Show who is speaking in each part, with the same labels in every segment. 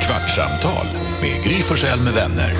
Speaker 1: Kvartsamtal med Gry Forssell med vänner.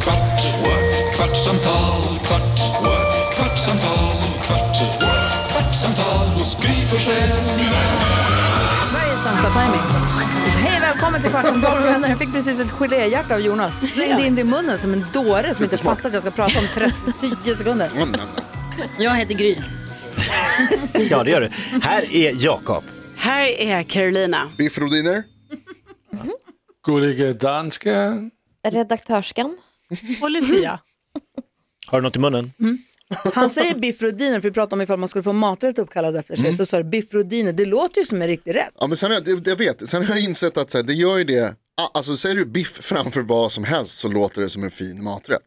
Speaker 1: Kvart, what? kvartsamtal, kvart, what? kvartsamtal, kvart, what? kvartsamtal hos Gry Forssell med vänner.
Speaker 2: Sveriges sämsta timing. Så Hej välkommen till Kvartsamtal med vänner. Jag fick precis ett geléhjärta av Jonas. Slängde in det i munnen som en dåre som inte fattat att jag ska prata om 30, 10 sekunder. Jag heter Gry.
Speaker 3: Ja, det gör du. Här är Jakob.
Speaker 4: Här är Carolina.
Speaker 5: Biff Rodiner.
Speaker 6: Gullige dansken.
Speaker 7: Redaktörskan.
Speaker 4: Och Lucia.
Speaker 3: Har du något i munnen?
Speaker 2: Han säger biffrodiner, för vi pratade om ifall man skulle få maträtt uppkallad efter
Speaker 5: Mm.
Speaker 2: sig. Så sa du biffrodiner, det låter ju som en riktig rätt.
Speaker 5: Ja, men sen har jag, det- jag vet, sen har jag insett att så här, det gör ju det, ah, alltså säger du biff framför vad som helst så låter det som en fin maträtt.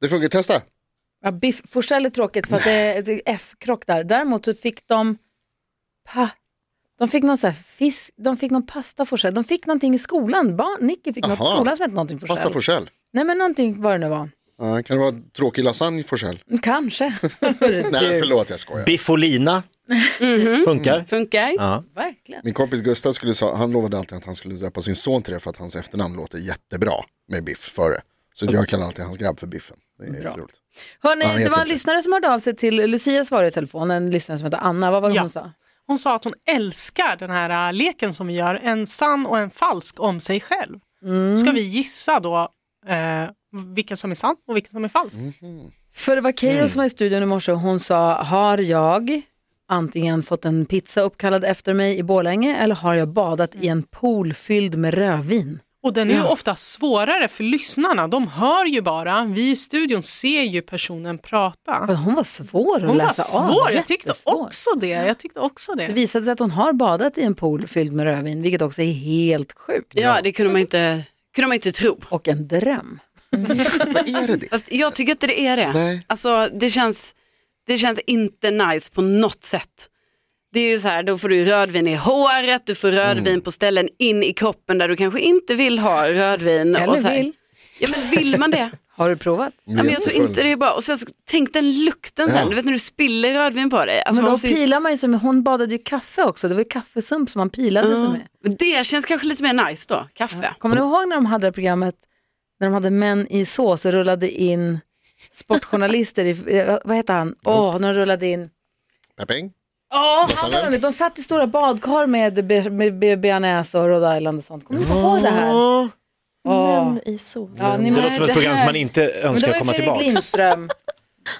Speaker 5: Det funkar, testa.
Speaker 2: Ja, biff, Forsell är tråkigt för att det är det är F-krock där. Däremot så fick de, pa, de fick någon så här fisk, de fick någon pasta Forsell. De fick någonting i skolan, barn, Nicky fick något i
Speaker 5: Aha.
Speaker 2: skolan som hette någonting
Speaker 5: Pasta
Speaker 2: Forsell.
Speaker 5: Forsell.
Speaker 2: Nej men någonting vad det nu var.
Speaker 5: Ja, kan det vara tråkig lasagne Forsell?
Speaker 2: Kanske.
Speaker 5: Nej, förlåt, jag skojar.
Speaker 3: Biffolina. Funkar.
Speaker 4: Funkar?
Speaker 3: Ja.
Speaker 2: Verkligen.
Speaker 5: Min kompis Gustav skulle sa, han lovade alltid att han skulle döpa sin son till det för att hans efternamn låter jättebra med biff före. Så jag kallar alltid hans grabb för biffen. Det är jätteroligt.
Speaker 2: Hörrni,
Speaker 5: Ja, jag
Speaker 2: det var en
Speaker 5: tänkte-
Speaker 2: lyssnare som hörde av sig till Lucia svarade i telefon, en lyssnare som heter Anna. Vad var det
Speaker 8: Ja.
Speaker 2: hon sa?
Speaker 8: Hon sa att hon älskar den här äh, leken som vi gör, en sann och en falsk om sig själv.
Speaker 2: Mm.
Speaker 8: Ska vi gissa då eh, vilken som är sann och vilken som är falsk?
Speaker 2: Mm. För det var Keyyo som var i studion i morse och hon sa, har jag antingen fått en pizza uppkallad efter mig i Borlänge eller har jag badat i en pool fylld med rödvin?
Speaker 8: Och den är ju ofta svårare för lyssnarna, de hör ju bara, vi i studion ser ju personen prata.
Speaker 2: Men Hon var svår att
Speaker 8: Ah. Hon var
Speaker 2: läsa av.
Speaker 8: svår, jag tyckte
Speaker 2: Jättesvår.
Speaker 8: också det. Jag tyckte också
Speaker 2: Det
Speaker 8: det.
Speaker 2: visade sig att hon har badat i en pool fylld med rödvin, vilket också är helt sjukt.
Speaker 4: Ja, det kunde man inte, kunde man inte tro.
Speaker 2: Och en dröm.
Speaker 5: Vad är det det?
Speaker 4: Fast jag tycker inte det är det.
Speaker 5: Nej.
Speaker 4: Alltså, det, känns, det känns inte nice på något sätt. Det är ju så här, då får du ju rödvin i håret, du får rödvin på ställen in i kroppen där du kanske inte vill ha rödvin.
Speaker 2: Eller
Speaker 4: och så här.
Speaker 2: vill.
Speaker 4: Ja, men vill man det?
Speaker 2: Har du provat?
Speaker 4: Ja, men jag tror inte det är bra. Och sen så, tänk den lukten sen,
Speaker 5: Ja.
Speaker 4: du vet när du spiller rödvin på dig. Alltså,
Speaker 2: men
Speaker 4: man
Speaker 2: då
Speaker 4: måste ju-
Speaker 2: pilar man ju som, hon badade ju kaffe också, det var ju kaffesump som man pilade sig med.
Speaker 4: Men Det känns kanske lite mer nice då, kaffe.
Speaker 2: Kommer ni ihåg när de hade det här programmet, när de hade män i sås och rullade in sportjournalister i, eh, vad heter han, åh, när de rullade in,
Speaker 5: Pepping?
Speaker 2: åh, han var med. de satt i stora badkar med be- med be- bearnaise och Rhode Island och sånt. Kommer ni inte ihåg det här? Åh.
Speaker 7: Män i sol.
Speaker 2: Ja, ni
Speaker 3: Det
Speaker 2: må-
Speaker 3: låter som ett
Speaker 4: det
Speaker 3: program som
Speaker 4: här-
Speaker 3: man inte
Speaker 2: men det
Speaker 3: önskar
Speaker 2: var ju
Speaker 3: komma
Speaker 2: Fredrik
Speaker 3: tillbaka.
Speaker 2: Lindström,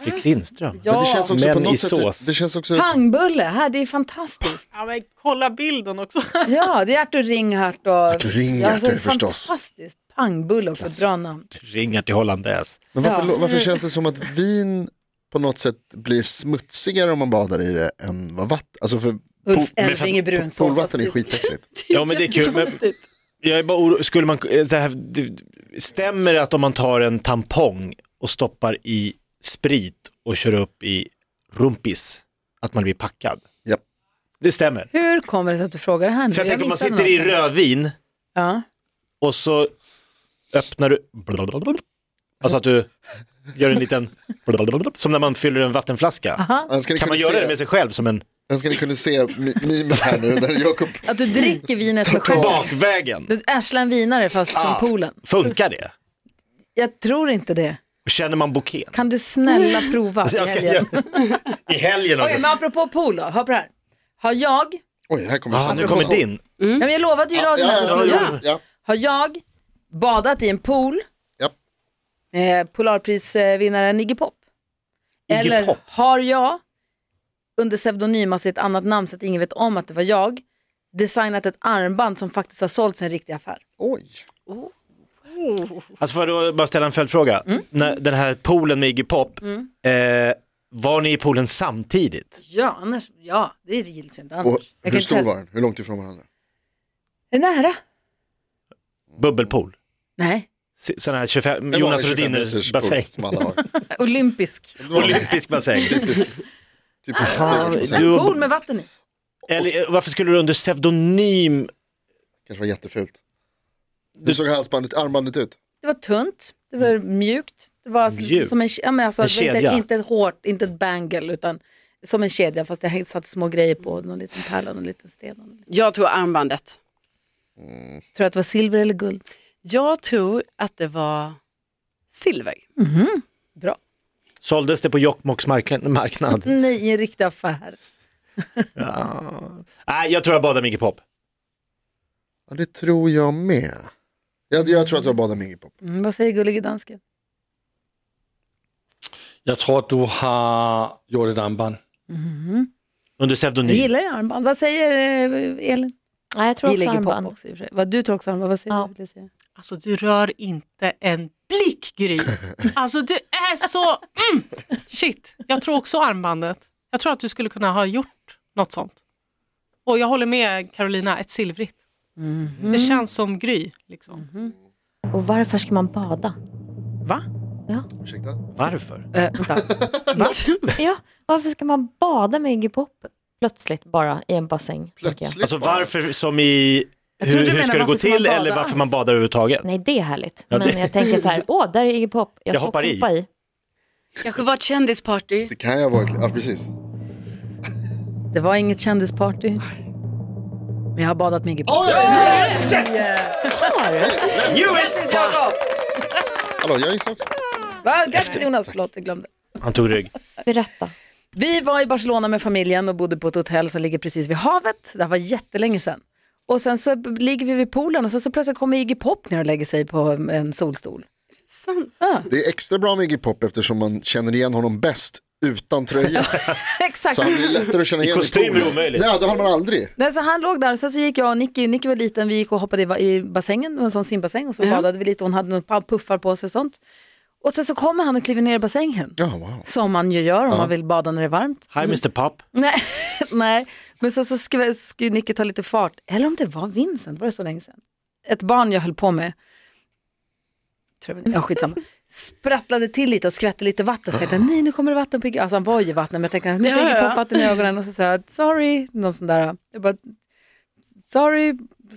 Speaker 3: Fredrik Lindström.
Speaker 2: Ja.
Speaker 5: Men det känns också
Speaker 3: Men
Speaker 5: på
Speaker 3: i
Speaker 5: något
Speaker 3: sås.
Speaker 5: sätt, det känns också,
Speaker 2: pangbulle, här, det är fantastiskt.
Speaker 8: Ja, men kolla bilden också.
Speaker 2: Ja, det är Artur Ringhart och... Artur
Speaker 5: Ringhart är det förstås.
Speaker 2: Fantastiskt, pangbulle också, ett bra namn.
Speaker 3: Ringar till hollandaise.
Speaker 5: men varför, lo- varför känns det som att vin på något sätt blir smutsigare om man badar i det än vad vatten, alltså för
Speaker 2: Ulf
Speaker 3: men för-
Speaker 2: Elfing i brunsås.
Speaker 5: Solvatten är skitäckligt.
Speaker 3: Ja, men det är kul. Men jag är bara oro... Skulle man... eh, Så här... du- Stämmer det att om man tar en tampong och stoppar i sprit och kör upp i rumpis, att man blir packad?
Speaker 5: Japp.
Speaker 3: Det stämmer.
Speaker 2: Hur kommer det sig att du frågar det här nu?
Speaker 3: För jag tänker om man
Speaker 2: missade
Speaker 3: sitter i
Speaker 2: någonting.
Speaker 3: rödvin
Speaker 2: Ja.
Speaker 3: och så öppnar du, alltså att du gör en liten, som när man fyller en vattenflaska.
Speaker 5: Jag önskar ni
Speaker 3: Kan man
Speaker 5: kunde
Speaker 3: göra
Speaker 5: se-
Speaker 3: det med sig själv som en
Speaker 5: Jag önskar ni kunde se mi- mimet här nu när Jakob,
Speaker 2: Att du dricker vinet med skärpa.
Speaker 3: bakvägen?
Speaker 2: Du ärslar en vinare fast
Speaker 3: Ah.
Speaker 2: från poolen.
Speaker 3: Funkar det?
Speaker 2: Jag tror inte det.
Speaker 3: Och Känner man bouquet?
Speaker 2: Kan du snälla prova
Speaker 3: Alltså,
Speaker 2: i
Speaker 3: jag ska
Speaker 2: helgen?
Speaker 3: göra- I helgen
Speaker 2: Okej,
Speaker 3: också.
Speaker 2: men apropå pool då, hör på det här. Har jag,
Speaker 5: oj här kommer
Speaker 3: Ah, nu kommer din.
Speaker 2: ja, men jag lovade ju i
Speaker 5: Ja,
Speaker 2: radion att jag
Speaker 5: ja,
Speaker 2: skulle göra
Speaker 5: ja, ja,
Speaker 2: Har jag badat i en pool
Speaker 5: ja.
Speaker 2: med Polarprisvinnaren Iggy Pop?
Speaker 3: Iggy
Speaker 2: Eller
Speaker 3: Pop?
Speaker 2: har jag under pseudonym, alltså ett annat namn så att ingen vet om att det var jag, designat ett armband som faktiskt har sålts i en riktig affär?
Speaker 5: Oj,
Speaker 3: Alltså får jag då bara ställa en följdfråga?
Speaker 2: Mm.
Speaker 3: När, den här poolen med Iggy Pop, eh, var ni i poolen samtidigt?
Speaker 2: Ja, annars, ja, det gills ju inte annars.
Speaker 5: och
Speaker 2: Jag
Speaker 5: hur
Speaker 2: kan
Speaker 5: stor
Speaker 2: inte-
Speaker 5: var den? Hur långt ifrån varandra?
Speaker 2: Det är Nära?
Speaker 3: Bubbelpool?
Speaker 2: Nej,
Speaker 3: S- Sån här 25,
Speaker 5: Den var
Speaker 3: Jonas
Speaker 5: väl 25
Speaker 3: Rhodiners
Speaker 5: meters
Speaker 3: bassäng?
Speaker 5: stor, som alla har.
Speaker 2: olympisk.
Speaker 5: Det var
Speaker 3: Olympisk bassäng.
Speaker 5: typiskt liksom.
Speaker 3: du-
Speaker 5: trädgårdsbassäng.
Speaker 2: En pool med vatten i.
Speaker 3: Eller eh, varför skulle du under pseudonym,
Speaker 5: kanske var jättefult. Hur såg halsbandet, armbandet ut?
Speaker 2: Det var tunt, det var mjukt, det var alltså
Speaker 3: Mjukt?
Speaker 2: som en, ke- ja, men alltså,
Speaker 3: En
Speaker 2: det var
Speaker 3: kedja?
Speaker 2: Inte, inte ett hårt, inte ett bangle utan som en kedja fast det häng- satt små grejer på, någon liten pärla och en liten sten. Och en liten.
Speaker 4: Jag tror armbandet.
Speaker 2: Tror du att det var silver eller guld?
Speaker 4: Jag tror att det var silver.
Speaker 2: Bra.
Speaker 3: Såldes det på Jokkmokks mark- marknad?
Speaker 2: Nej, i en riktig affär.
Speaker 3: Nej, jag tror jag badade med Iggy Pop.
Speaker 5: Ja, det tror jag med. Jag, jag tror att jag badar med Iggy Pop.
Speaker 2: Mm, vad säger gullige dansken?
Speaker 6: Jeg tror, du har gjort et armbånd.
Speaker 3: Under
Speaker 2: Jag
Speaker 3: pseudonym.
Speaker 2: gillar ju armband. Vad säger eh, Elin?
Speaker 7: Nej, jag tror
Speaker 2: Vi
Speaker 7: också
Speaker 2: lägger på
Speaker 7: armband.
Speaker 2: också i och för sig. Vad, du tror också armband. Vad säger
Speaker 7: Ja.
Speaker 2: du? Lucia?
Speaker 8: Alltså du rör inte en blick Gry. Alltså du är så, mm. shit, jag tror också armbandet. Jag tror att du skulle kunna ha gjort något sånt. Och jag håller med Carolina, ett silvrigt. Det känns som Gry. Liksom.
Speaker 7: Och varför ska man bada?
Speaker 2: Va?
Speaker 5: Ursäkta?
Speaker 3: Varför?
Speaker 2: Eh, vänta.
Speaker 7: Ja, varför ska man bada med Iggy Pop plötsligt bara i en bassäng? tänker jag?
Speaker 5: Plötsligt
Speaker 3: Alltså
Speaker 5: bara.
Speaker 3: varför som i
Speaker 2: tror
Speaker 3: hur,
Speaker 2: du
Speaker 3: hur
Speaker 2: menar
Speaker 3: ska det gå
Speaker 2: varför ska man
Speaker 3: till
Speaker 2: bada
Speaker 3: eller varför
Speaker 2: alls?
Speaker 3: man badar överhuvudtaget?
Speaker 7: Nej, det är härligt.
Speaker 3: Ja,
Speaker 7: Men
Speaker 3: det-
Speaker 7: jag tänker så här, åh, där är Iggy Pop. Jag,
Speaker 3: Jag
Speaker 7: ska
Speaker 3: hoppar
Speaker 7: också
Speaker 3: i.
Speaker 7: hoppa i.
Speaker 4: Kanske var ett kändisparty.
Speaker 5: Det kan jag ha varit, ja precis.
Speaker 2: Det var inget kändisparty. Men jag har badat med Iggy Pop. Grattis Jakob!
Speaker 5: Hallå, jag gissar också.
Speaker 2: Va? Grattis Jonas, förlåt jag glömde.
Speaker 3: Han tog rygg.
Speaker 7: Berätta.
Speaker 2: Vi var i Barcelona med familjen och bodde på ett hotell som ligger precis vid havet. Det här var jättelänge sedan. Och sen så ligger vi vid poolen och sen så plötsligt kommer Iggy Pop ner och lägger sig på en solstol.
Speaker 4: Sant.
Speaker 5: Det är extra bra med Iggy Pop eftersom man känner igen honom bäst utan tröja.
Speaker 2: Exakt.
Speaker 5: Så han blir lättare att känna igen
Speaker 3: kostym är
Speaker 5: poolen.
Speaker 3: omöjligt.
Speaker 5: Nej, det har man aldrig.
Speaker 2: Nej, så han låg där och sen så gick jag och Nicky, Nicky var liten, vi gick och hoppade i va- i bassängen, det var en sån simbassäng och så badade vi lite, hon hade några pa- puffar på sig och sånt. Och sen så kommer han och kliver ner i bassängen.
Speaker 5: Ja, wow.
Speaker 2: Som man ju gör om man vill bada när det är varmt.
Speaker 3: Hi Mr Pop.
Speaker 2: Nej, nej. men så, så skulle, skulle Nicky ta lite fart. Eller om det var Vincent, var det så länge sedan? Ett barn jag höll på med, tror jag, ja, skitsamma, sprattlade till lite och skvätte lite vatten. Så jag tänkte, nej nu kommer det vatten på Iggy. Alltså han var ju i vattnet men jag tänkte, nu får Iggy på vatten i ögonen och så sa jag, sorry, någon sån där. Jag bara, sorry,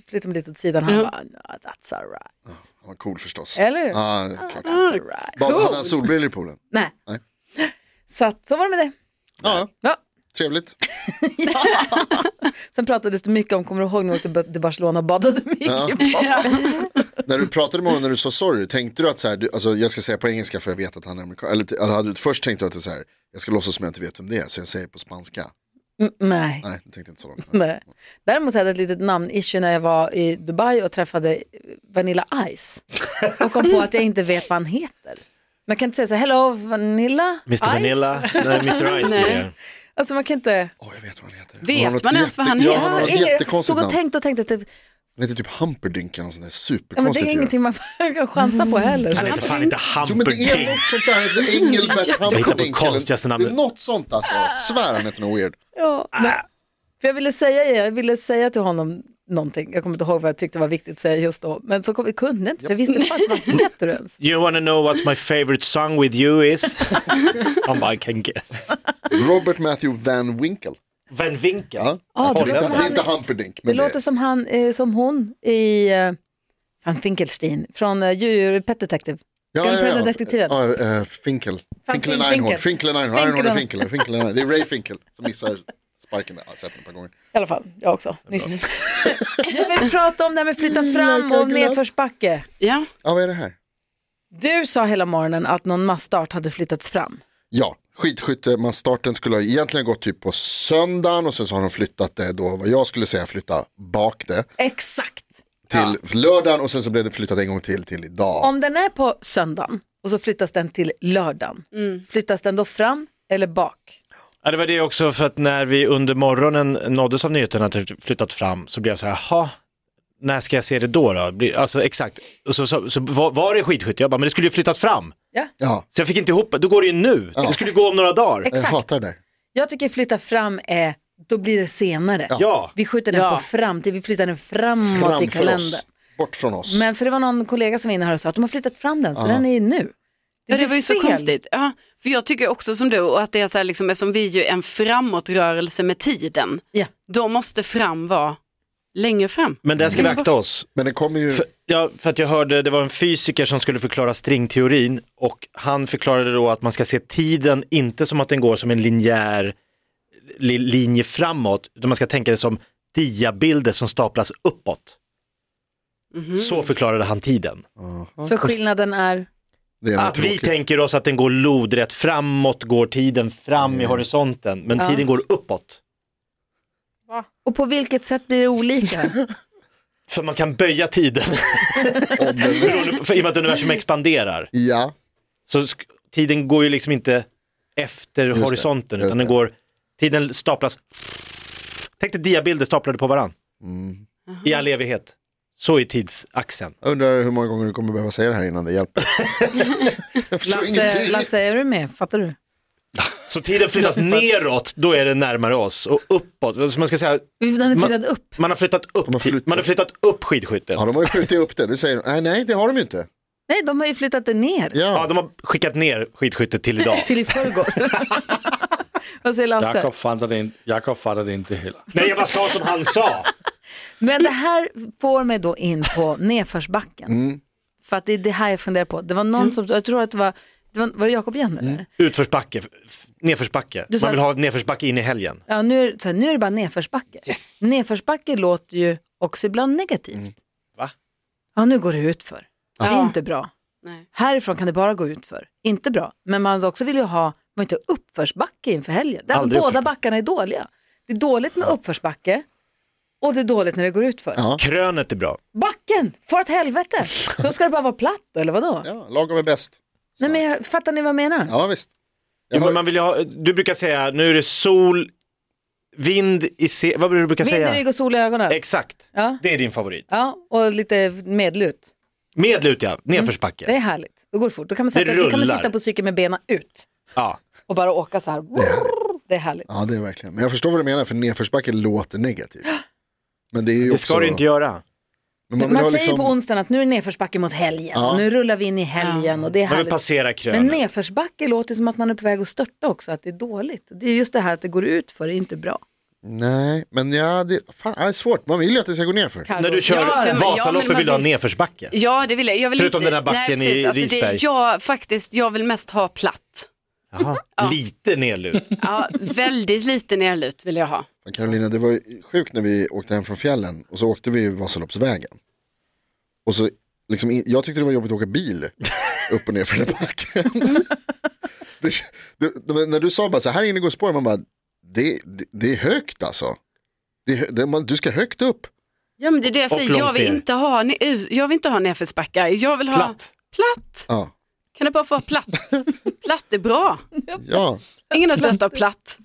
Speaker 2: flyttade mig lite åt sidan. Han bara, no, that's alright.
Speaker 5: Han var cool förstås.
Speaker 2: Eller hur?
Speaker 5: Ja, klart.
Speaker 2: That's all right.
Speaker 5: Bad, hade
Speaker 2: Cool.
Speaker 5: han solbrillor i poolen?
Speaker 2: Nej.
Speaker 5: Nej.
Speaker 2: Så, att, så var det med det.
Speaker 5: Ja,
Speaker 2: Ja.
Speaker 5: trevligt.
Speaker 2: Sen pratades det mycket om, kommer du ihåg när vi åkte till Barcelona och badade med Iggy?
Speaker 5: Ja. när du pratade med honom när du sa sorry, tänkte du att så här, du, alltså jag ska säga på engelska för jag vet att han är amerikan. Eller, eller hade du först tänkt att det är så här, jag ska låtsas som jag inte vet vem det är, så jag säger på spanska.
Speaker 2: Mm, Nej.
Speaker 5: Nej, jag tänkte inte så långt.
Speaker 2: Nej. Däremot hade jag ett litet namnissue när jag var i Dubai och träffade Vanilla Ice och kom på att jag inte vet vad han heter. Man kan inte säga så här, hello Vanilla
Speaker 3: Mr
Speaker 2: Ice.
Speaker 3: Vanilla. Nej, Mr Ice blir det.
Speaker 2: Alltså man kan inte...
Speaker 5: Åh, jag vet vad han heter.
Speaker 4: Vet
Speaker 5: Han har något
Speaker 4: man ens vad han
Speaker 5: Ja,
Speaker 4: heter?
Speaker 5: han har ett
Speaker 2: Ingen- jag
Speaker 5: jättekonstigt
Speaker 2: stod och
Speaker 5: namn.
Speaker 2: tänkte och tänkte, typ,
Speaker 5: Han heter typ Hamperdynkan och sånt där
Speaker 2: ja, men det
Speaker 5: superkonstigt
Speaker 2: är
Speaker 5: ju.
Speaker 2: ingenting man kan chansa på heller.
Speaker 3: Han heter fan inte
Speaker 5: Jo men det är
Speaker 3: Humperdinck.
Speaker 5: något sånt där, alltså, Engelbert
Speaker 3: hittar på
Speaker 5: Hamperdinken.
Speaker 3: konstigaste
Speaker 5: Det
Speaker 3: namn.
Speaker 5: är något sånt alltså, svär han heter något weird.
Speaker 2: Ja, men, för jag ville, säga, jag ville säga till honom någonting, jag kommer inte ihåg vad jag tyckte var viktigt att säga just då, men så kom, jag kunde inte, för jag visste fan inte vad heter du ens.
Speaker 3: You wanna know what my favorite song with you is? Han bara, I can guess.
Speaker 5: Robert Matthew Van Winkle.
Speaker 3: Van Winkel.
Speaker 5: Ja.
Speaker 2: Ja, Ah, det
Speaker 5: det,
Speaker 2: låter
Speaker 5: är,
Speaker 2: som
Speaker 5: det är
Speaker 2: han-
Speaker 5: inte Hamperdink.
Speaker 2: Det
Speaker 5: Men
Speaker 2: låter som han, eh, som hon i eh, Van Finkelstein från eh, Djur- Pet Detective.
Speaker 5: Ja,
Speaker 2: den
Speaker 5: ja, ja.
Speaker 2: Predadetektiven.
Speaker 5: Ja, eh, Finkel. Finkel and
Speaker 2: Finkel.
Speaker 5: Einhorn. Finkel and Einhorn. Einhorn och
Speaker 2: Finkel.
Speaker 5: Finkel. Finkel and Einhorn. Det är Ray Finkel som missar sparken. där. Ja, sett den ett par gånger.
Speaker 2: I alla fall, jag också. Nyss. Jag vill prata om det här med flytta fram och nedförsbacke.
Speaker 4: Ja.
Speaker 5: Ja, vad är det här?
Speaker 2: Du sa hela morgonen att någon massstart hade flyttats fram.
Speaker 5: Ja, skidskyttemassstarten skulle ha egentligen gått typ på söndagen och sen så har de flyttat det då, vad jag skulle säga flytta bak det
Speaker 2: Exakt.
Speaker 5: till lördagen och sen så blev det flyttat en gång till till idag.
Speaker 2: Om den är på söndagen och så flyttas den till lördagen, flyttas den då fram eller bak?
Speaker 3: Ja, det var det också för att när vi under morgonen nåddes av nyheten att det flyttat fram så blev jag så här, jaha, när ska jag se det då? då? Blir- Alltså exakt, och så, så, så var, var det skidskytte? Jag bara, men det skulle ju flyttats fram.
Speaker 5: Ja,
Speaker 3: Så jag fick inte ihop det, då går det ju nu. Det skulle gå om några dagar.
Speaker 5: jag
Speaker 2: Exakt.
Speaker 5: hatar det där.
Speaker 2: Jag tycker flytta fram är, då blir det senare.
Speaker 3: Ja,
Speaker 2: Vi skjuter den
Speaker 4: Ja.
Speaker 2: på framtid, vi flyttar den framåt Mm. i
Speaker 5: Framför
Speaker 2: kalendern.
Speaker 5: oss, bort från oss.
Speaker 2: Men för det var någon kollega som var inne här och sa att de har flyttat fram den, så den är ju nu.
Speaker 4: Ja, det
Speaker 2: blir
Speaker 4: var ju så
Speaker 2: fel.
Speaker 4: konstigt. Ja, för jag tycker också som du, och att det är så här, liksom, eftersom vi är ju en framåtrörelse med tiden,
Speaker 2: Ja.
Speaker 4: då måste fram vara längre fram.
Speaker 3: men där ska vi akta oss.
Speaker 5: Men det kommer ju...
Speaker 3: För, ja, för att jag hörde, det var en fysiker som skulle förklara stringteorin och han förklarade då att man ska se tiden inte som att den går som en linjär li, linje framåt, utan man ska tänka det som diabilder som staplas uppåt. Så förklarade han tiden.
Speaker 2: För skillnaden är?
Speaker 5: Det är nog
Speaker 3: Att Ah, vi
Speaker 5: tråkigt.
Speaker 3: tänker oss att den går lodrätt framåt, går tiden fram i horisonten, men tiden går uppåt.
Speaker 2: Och på vilket sätt blir det olika?
Speaker 3: För man kan böja tiden,
Speaker 5: Om den-
Speaker 3: beroende- för i och med att universum expanderar.
Speaker 5: Ja,
Speaker 3: Så sk- tiden går ju liksom inte efter
Speaker 5: det,
Speaker 3: horisonten,
Speaker 5: just
Speaker 3: utan den
Speaker 5: det.
Speaker 3: går, tiden staplas. Tänk dig diabilder staplade på varann.
Speaker 5: Mm.
Speaker 3: I all evighet. Så är tidsaxeln.
Speaker 5: jag undrar hur många gånger du kommer behöva säga det här innan det hjälper. jag förstår
Speaker 2: Lasse,
Speaker 5: ingenting.
Speaker 2: Lasse, är du med? Fattar du?
Speaker 3: Så tiden flyttas neråt, då är det närmare oss. Och uppåt, så man ska säga,
Speaker 2: Den är
Speaker 3: Ma-
Speaker 2: flyttad upp.
Speaker 3: man har flyttat upp,
Speaker 5: har
Speaker 3: ti-
Speaker 5: flyttat-
Speaker 3: Man har flyttat upp skidskyttet.
Speaker 5: Ja, de har ju skjutit upp det, det säger de. Nej, nej, det har de ju inte.
Speaker 2: Nej, de har ju flyttat den ner
Speaker 3: Ja,
Speaker 5: Ja,
Speaker 3: de har skickat ner skidskyttet till idag.
Speaker 2: till i förrgår. Vad säger Lasse?
Speaker 6: Jakob fattade, inte- Jakob fattade inte heller.
Speaker 3: Nej, jag bara sa som han sa.
Speaker 2: Men det här får mig då in på nedförsbacken.
Speaker 3: Mm.
Speaker 2: För att det är det här jag funderar på. Det var någon som, jag tror att det var, det var, var det Jakob igen
Speaker 3: Mm.
Speaker 2: eller?
Speaker 3: Utförsbacke, f- nedförsbacke.
Speaker 2: Du sa-
Speaker 3: Man vill ha nedförsbacke in i helgen.
Speaker 2: Ja, nu är, det så här, nu är det bara nedförsbacke. Nedförsbacke låter ju också ibland negativt.
Speaker 3: Mm. Va?
Speaker 2: Ja, nu går det ut för. Det är
Speaker 4: Ja.
Speaker 2: inte bra.
Speaker 4: Nej.
Speaker 2: Härifrån kan det bara gå ut för. Inte bra. Men man också vill ju ha, man vill inte ha uppförsbacke inför helgen. Det är alltså
Speaker 3: Aldrig
Speaker 2: båda
Speaker 3: uppförsbacke.
Speaker 2: backarna är dåliga. Det är dåligt med uppförsbacke och det är dåligt när det går ut för.
Speaker 5: Ja.
Speaker 3: Krönet är bra.
Speaker 2: Backen, för åt helvete. Då ska det bara vara platt då, eller vadå?
Speaker 5: ja lagom är bäst.
Speaker 2: Nej, men jag, fattar ni vad jag menar?
Speaker 5: Ja, visst. Jag
Speaker 3: Jo,
Speaker 5: hör-
Speaker 3: men man vill ju ha, du brukar säga, nu är det sol, vind i se... Vad brukar du brukar
Speaker 2: Vind i
Speaker 3: säga?
Speaker 2: rygg och sol i ögonen.
Speaker 3: Exakt,
Speaker 2: Ja.
Speaker 3: det är din favorit.
Speaker 2: Ja, och lite medlut.
Speaker 3: Med lut
Speaker 4: Mm.
Speaker 3: ja, nedförsbacke.
Speaker 2: Det är härligt. Då går det fort. Då kan man,
Speaker 3: Det
Speaker 2: sätta, då kan man
Speaker 3: rullar.
Speaker 2: sitta på cykeln med benen ut
Speaker 3: Ja.
Speaker 2: och bara åka så här. Det är härligt.
Speaker 5: Ja, det är verkligen. Men jag förstår vad du menar, för nedförsbacke låter negativt. Men det är ju
Speaker 3: Det
Speaker 5: också...
Speaker 3: ska du inte göra.
Speaker 5: Men
Speaker 2: Man,
Speaker 5: vill ha
Speaker 2: säger
Speaker 5: liksom-
Speaker 2: på onsdagen att nu är det nedförsbacke mot helgen.
Speaker 5: Ja.
Speaker 2: Och nu rullar vi in i helgen och det är
Speaker 3: Man vill
Speaker 2: härligt.
Speaker 3: passera
Speaker 2: Men
Speaker 3: krönet.
Speaker 2: nedförsbacke låter som att man är på väg att störta också, att det är dåligt. Det är just det här att det går ut för det är inte bra.
Speaker 5: Nej, men ja, det fan, det är svårt. Man vill ju att det ska gå nerför.
Speaker 2: Karo.
Speaker 3: När du kör
Speaker 4: Ja, för- ja, men
Speaker 3: Vasaloppet
Speaker 4: man
Speaker 3: vill du ha
Speaker 4: vill-
Speaker 3: nedförsbacke.
Speaker 4: Ja, det vill jag. jag vill
Speaker 3: Förutom
Speaker 4: inte...
Speaker 3: den här backen
Speaker 4: Nej, precis. Alltså,
Speaker 3: i
Speaker 4: det-
Speaker 3: Risberg.
Speaker 4: jag, faktiskt, jag vill mest ha platt.
Speaker 3: Jaha. Lite nedlut.
Speaker 4: Ja, väldigt lite nerlut vill jag ha.
Speaker 5: Men Carolina, det var ju sjukt när vi åkte hem från fjällen och så åkte vi Vasaloppsvägen. Och så, liksom, in- jag tyckte det var jobbigt att åka bil upp och ner för den där backen. det, det, men när du sa bara så här, här inne går spår, man bara, det, det, det är högt alltså. Det, är hö- det, man, du ska högt upp.
Speaker 4: Ja, men det är det jag
Speaker 3: Och
Speaker 4: säger. Jag
Speaker 3: långt
Speaker 4: vill,
Speaker 3: ner.
Speaker 4: inte ha, ne- ut- jag vill inte ha nedförsbackar. Jag vill ha
Speaker 3: Platt.
Speaker 4: platt.
Speaker 5: Ja,
Speaker 4: Kan det bara få vara platt? platt är bra.
Speaker 5: ja.
Speaker 4: Ingen har dött av platt.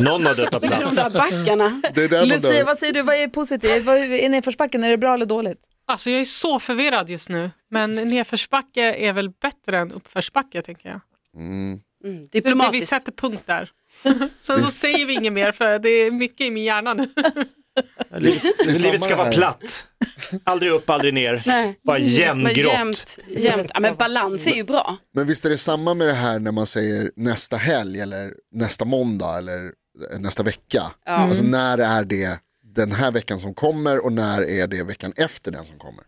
Speaker 3: Någon har dött av
Speaker 4: Det är de
Speaker 3: plats.
Speaker 4: där backarna. Mm,
Speaker 5: det är där man
Speaker 2: Lucia,
Speaker 5: dör.
Speaker 2: vad säger du? Vad är positivt? Vad är är nedförsbacken? Är det bra eller dåligt?
Speaker 8: Alltså jag är så förvirrad just nu, men nedförsbacke är väl bättre än uppförsbacke tänker jag.
Speaker 4: Mm,
Speaker 8: Det, det, vi
Speaker 4: diplomatiskt.
Speaker 8: sätter punkt där. Sen så säger vi inget mer för det är mycket i min hjärna nu.
Speaker 5: Det är samma
Speaker 3: Livet ska
Speaker 5: här.
Speaker 3: vara platt. Aldrig upp, aldrig ner.
Speaker 4: Nej.
Speaker 3: Bara
Speaker 4: Men
Speaker 3: jämngrått.
Speaker 4: jämnt, jämnt. Ja, men balans är ju bra.
Speaker 5: Men visst är det samma med det här när man säger nästa helg eller nästa måndag eller eh, nästa vecka. Alltså
Speaker 2: Mm.
Speaker 5: när är det den här veckan som kommer och när är det veckan efter den som kommer.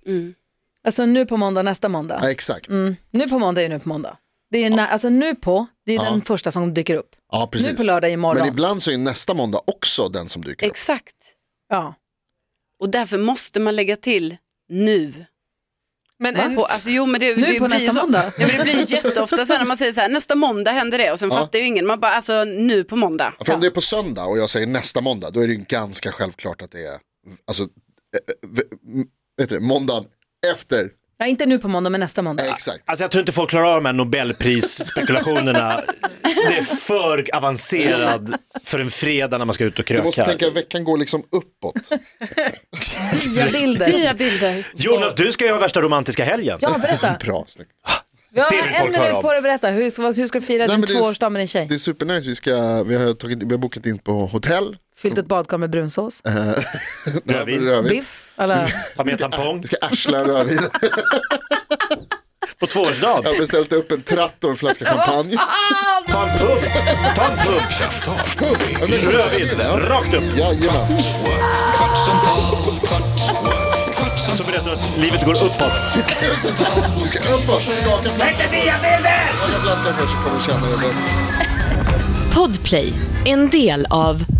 Speaker 2: Alltså nu på måndag, nästa måndag.
Speaker 5: Ja, exakt.
Speaker 2: Nu på måndag är nu på måndag. Det är när, alltså nu på, det är den första som dyker upp.
Speaker 5: Ja, precis.
Speaker 2: Nu på lördag imorgon.
Speaker 5: Men ibland så är nästa måndag också den som dyker upp.
Speaker 4: Exakt.
Speaker 2: Ja.
Speaker 4: Och därför måste man lägga till nu.
Speaker 8: Men en,
Speaker 4: På, alltså, jo, men det,
Speaker 2: Nu
Speaker 4: det
Speaker 2: på
Speaker 4: blir
Speaker 2: nästa
Speaker 4: så,
Speaker 2: måndag.
Speaker 4: Ja, men det blir ju jätteofta så här när man säger så här, nästa måndag händer det och sen fattar ju ingen. Man bara, alltså nu på måndag.
Speaker 5: För om det är på söndag och jag säger nästa måndag, då är det ju ganska självklart att det är alltså, äh, äh, m- vet du, det, måndagen efter.
Speaker 2: ja, inte nu på måndag men nästa måndag.
Speaker 5: Ja, exakt.
Speaker 3: Alltså jag tror inte folk klarar av de här Nobelprisspekulationerna. Det är för avancerad för en fredag när man ska ut och
Speaker 5: Du måste
Speaker 3: kröka.
Speaker 5: tänka att veckan går liksom uppåt.
Speaker 2: Nya bilder.
Speaker 4: Nya bilder.
Speaker 3: Jonas, du ska ju ha värsta romantiska helgen.
Speaker 2: Ja, berätta.
Speaker 5: Bra, snyggt.
Speaker 2: Vi har
Speaker 3: Det vill
Speaker 2: en
Speaker 3: folk höra
Speaker 2: minut
Speaker 3: om.
Speaker 2: på dig att berätta. Hur, ska- hur ska du fira
Speaker 5: Nej,
Speaker 2: din
Speaker 5: men det är-
Speaker 2: tvåårsdag med din tjej?
Speaker 5: Det är supernice, vi, ska, vi, har tagit, vi har bokat in på hotell.
Speaker 2: Fyllt ett badkar med brunsås,
Speaker 5: Rödvin.
Speaker 3: Rödvin.
Speaker 5: Rödvin.
Speaker 2: biff, alla...
Speaker 3: Ta med en tampong.
Speaker 5: Vi ska arsla en rödvin.
Speaker 3: På tvåårsdag.
Speaker 5: Jag har beställt upp en tratt och en flaska champagne.
Speaker 3: Ta en pump. Ta en pump. Rödvin. Rakt upp.
Speaker 5: Jajamän.
Speaker 1: Kvartsamtal, kvart, what?
Speaker 3: Så
Speaker 1: kvartsamtal,
Speaker 3: berättar du att livet går uppåt.
Speaker 5: Vi ska uppåt, skaka flaskan. Skaka flaskan först så kommer du känna det.
Speaker 9: Podplay, en del av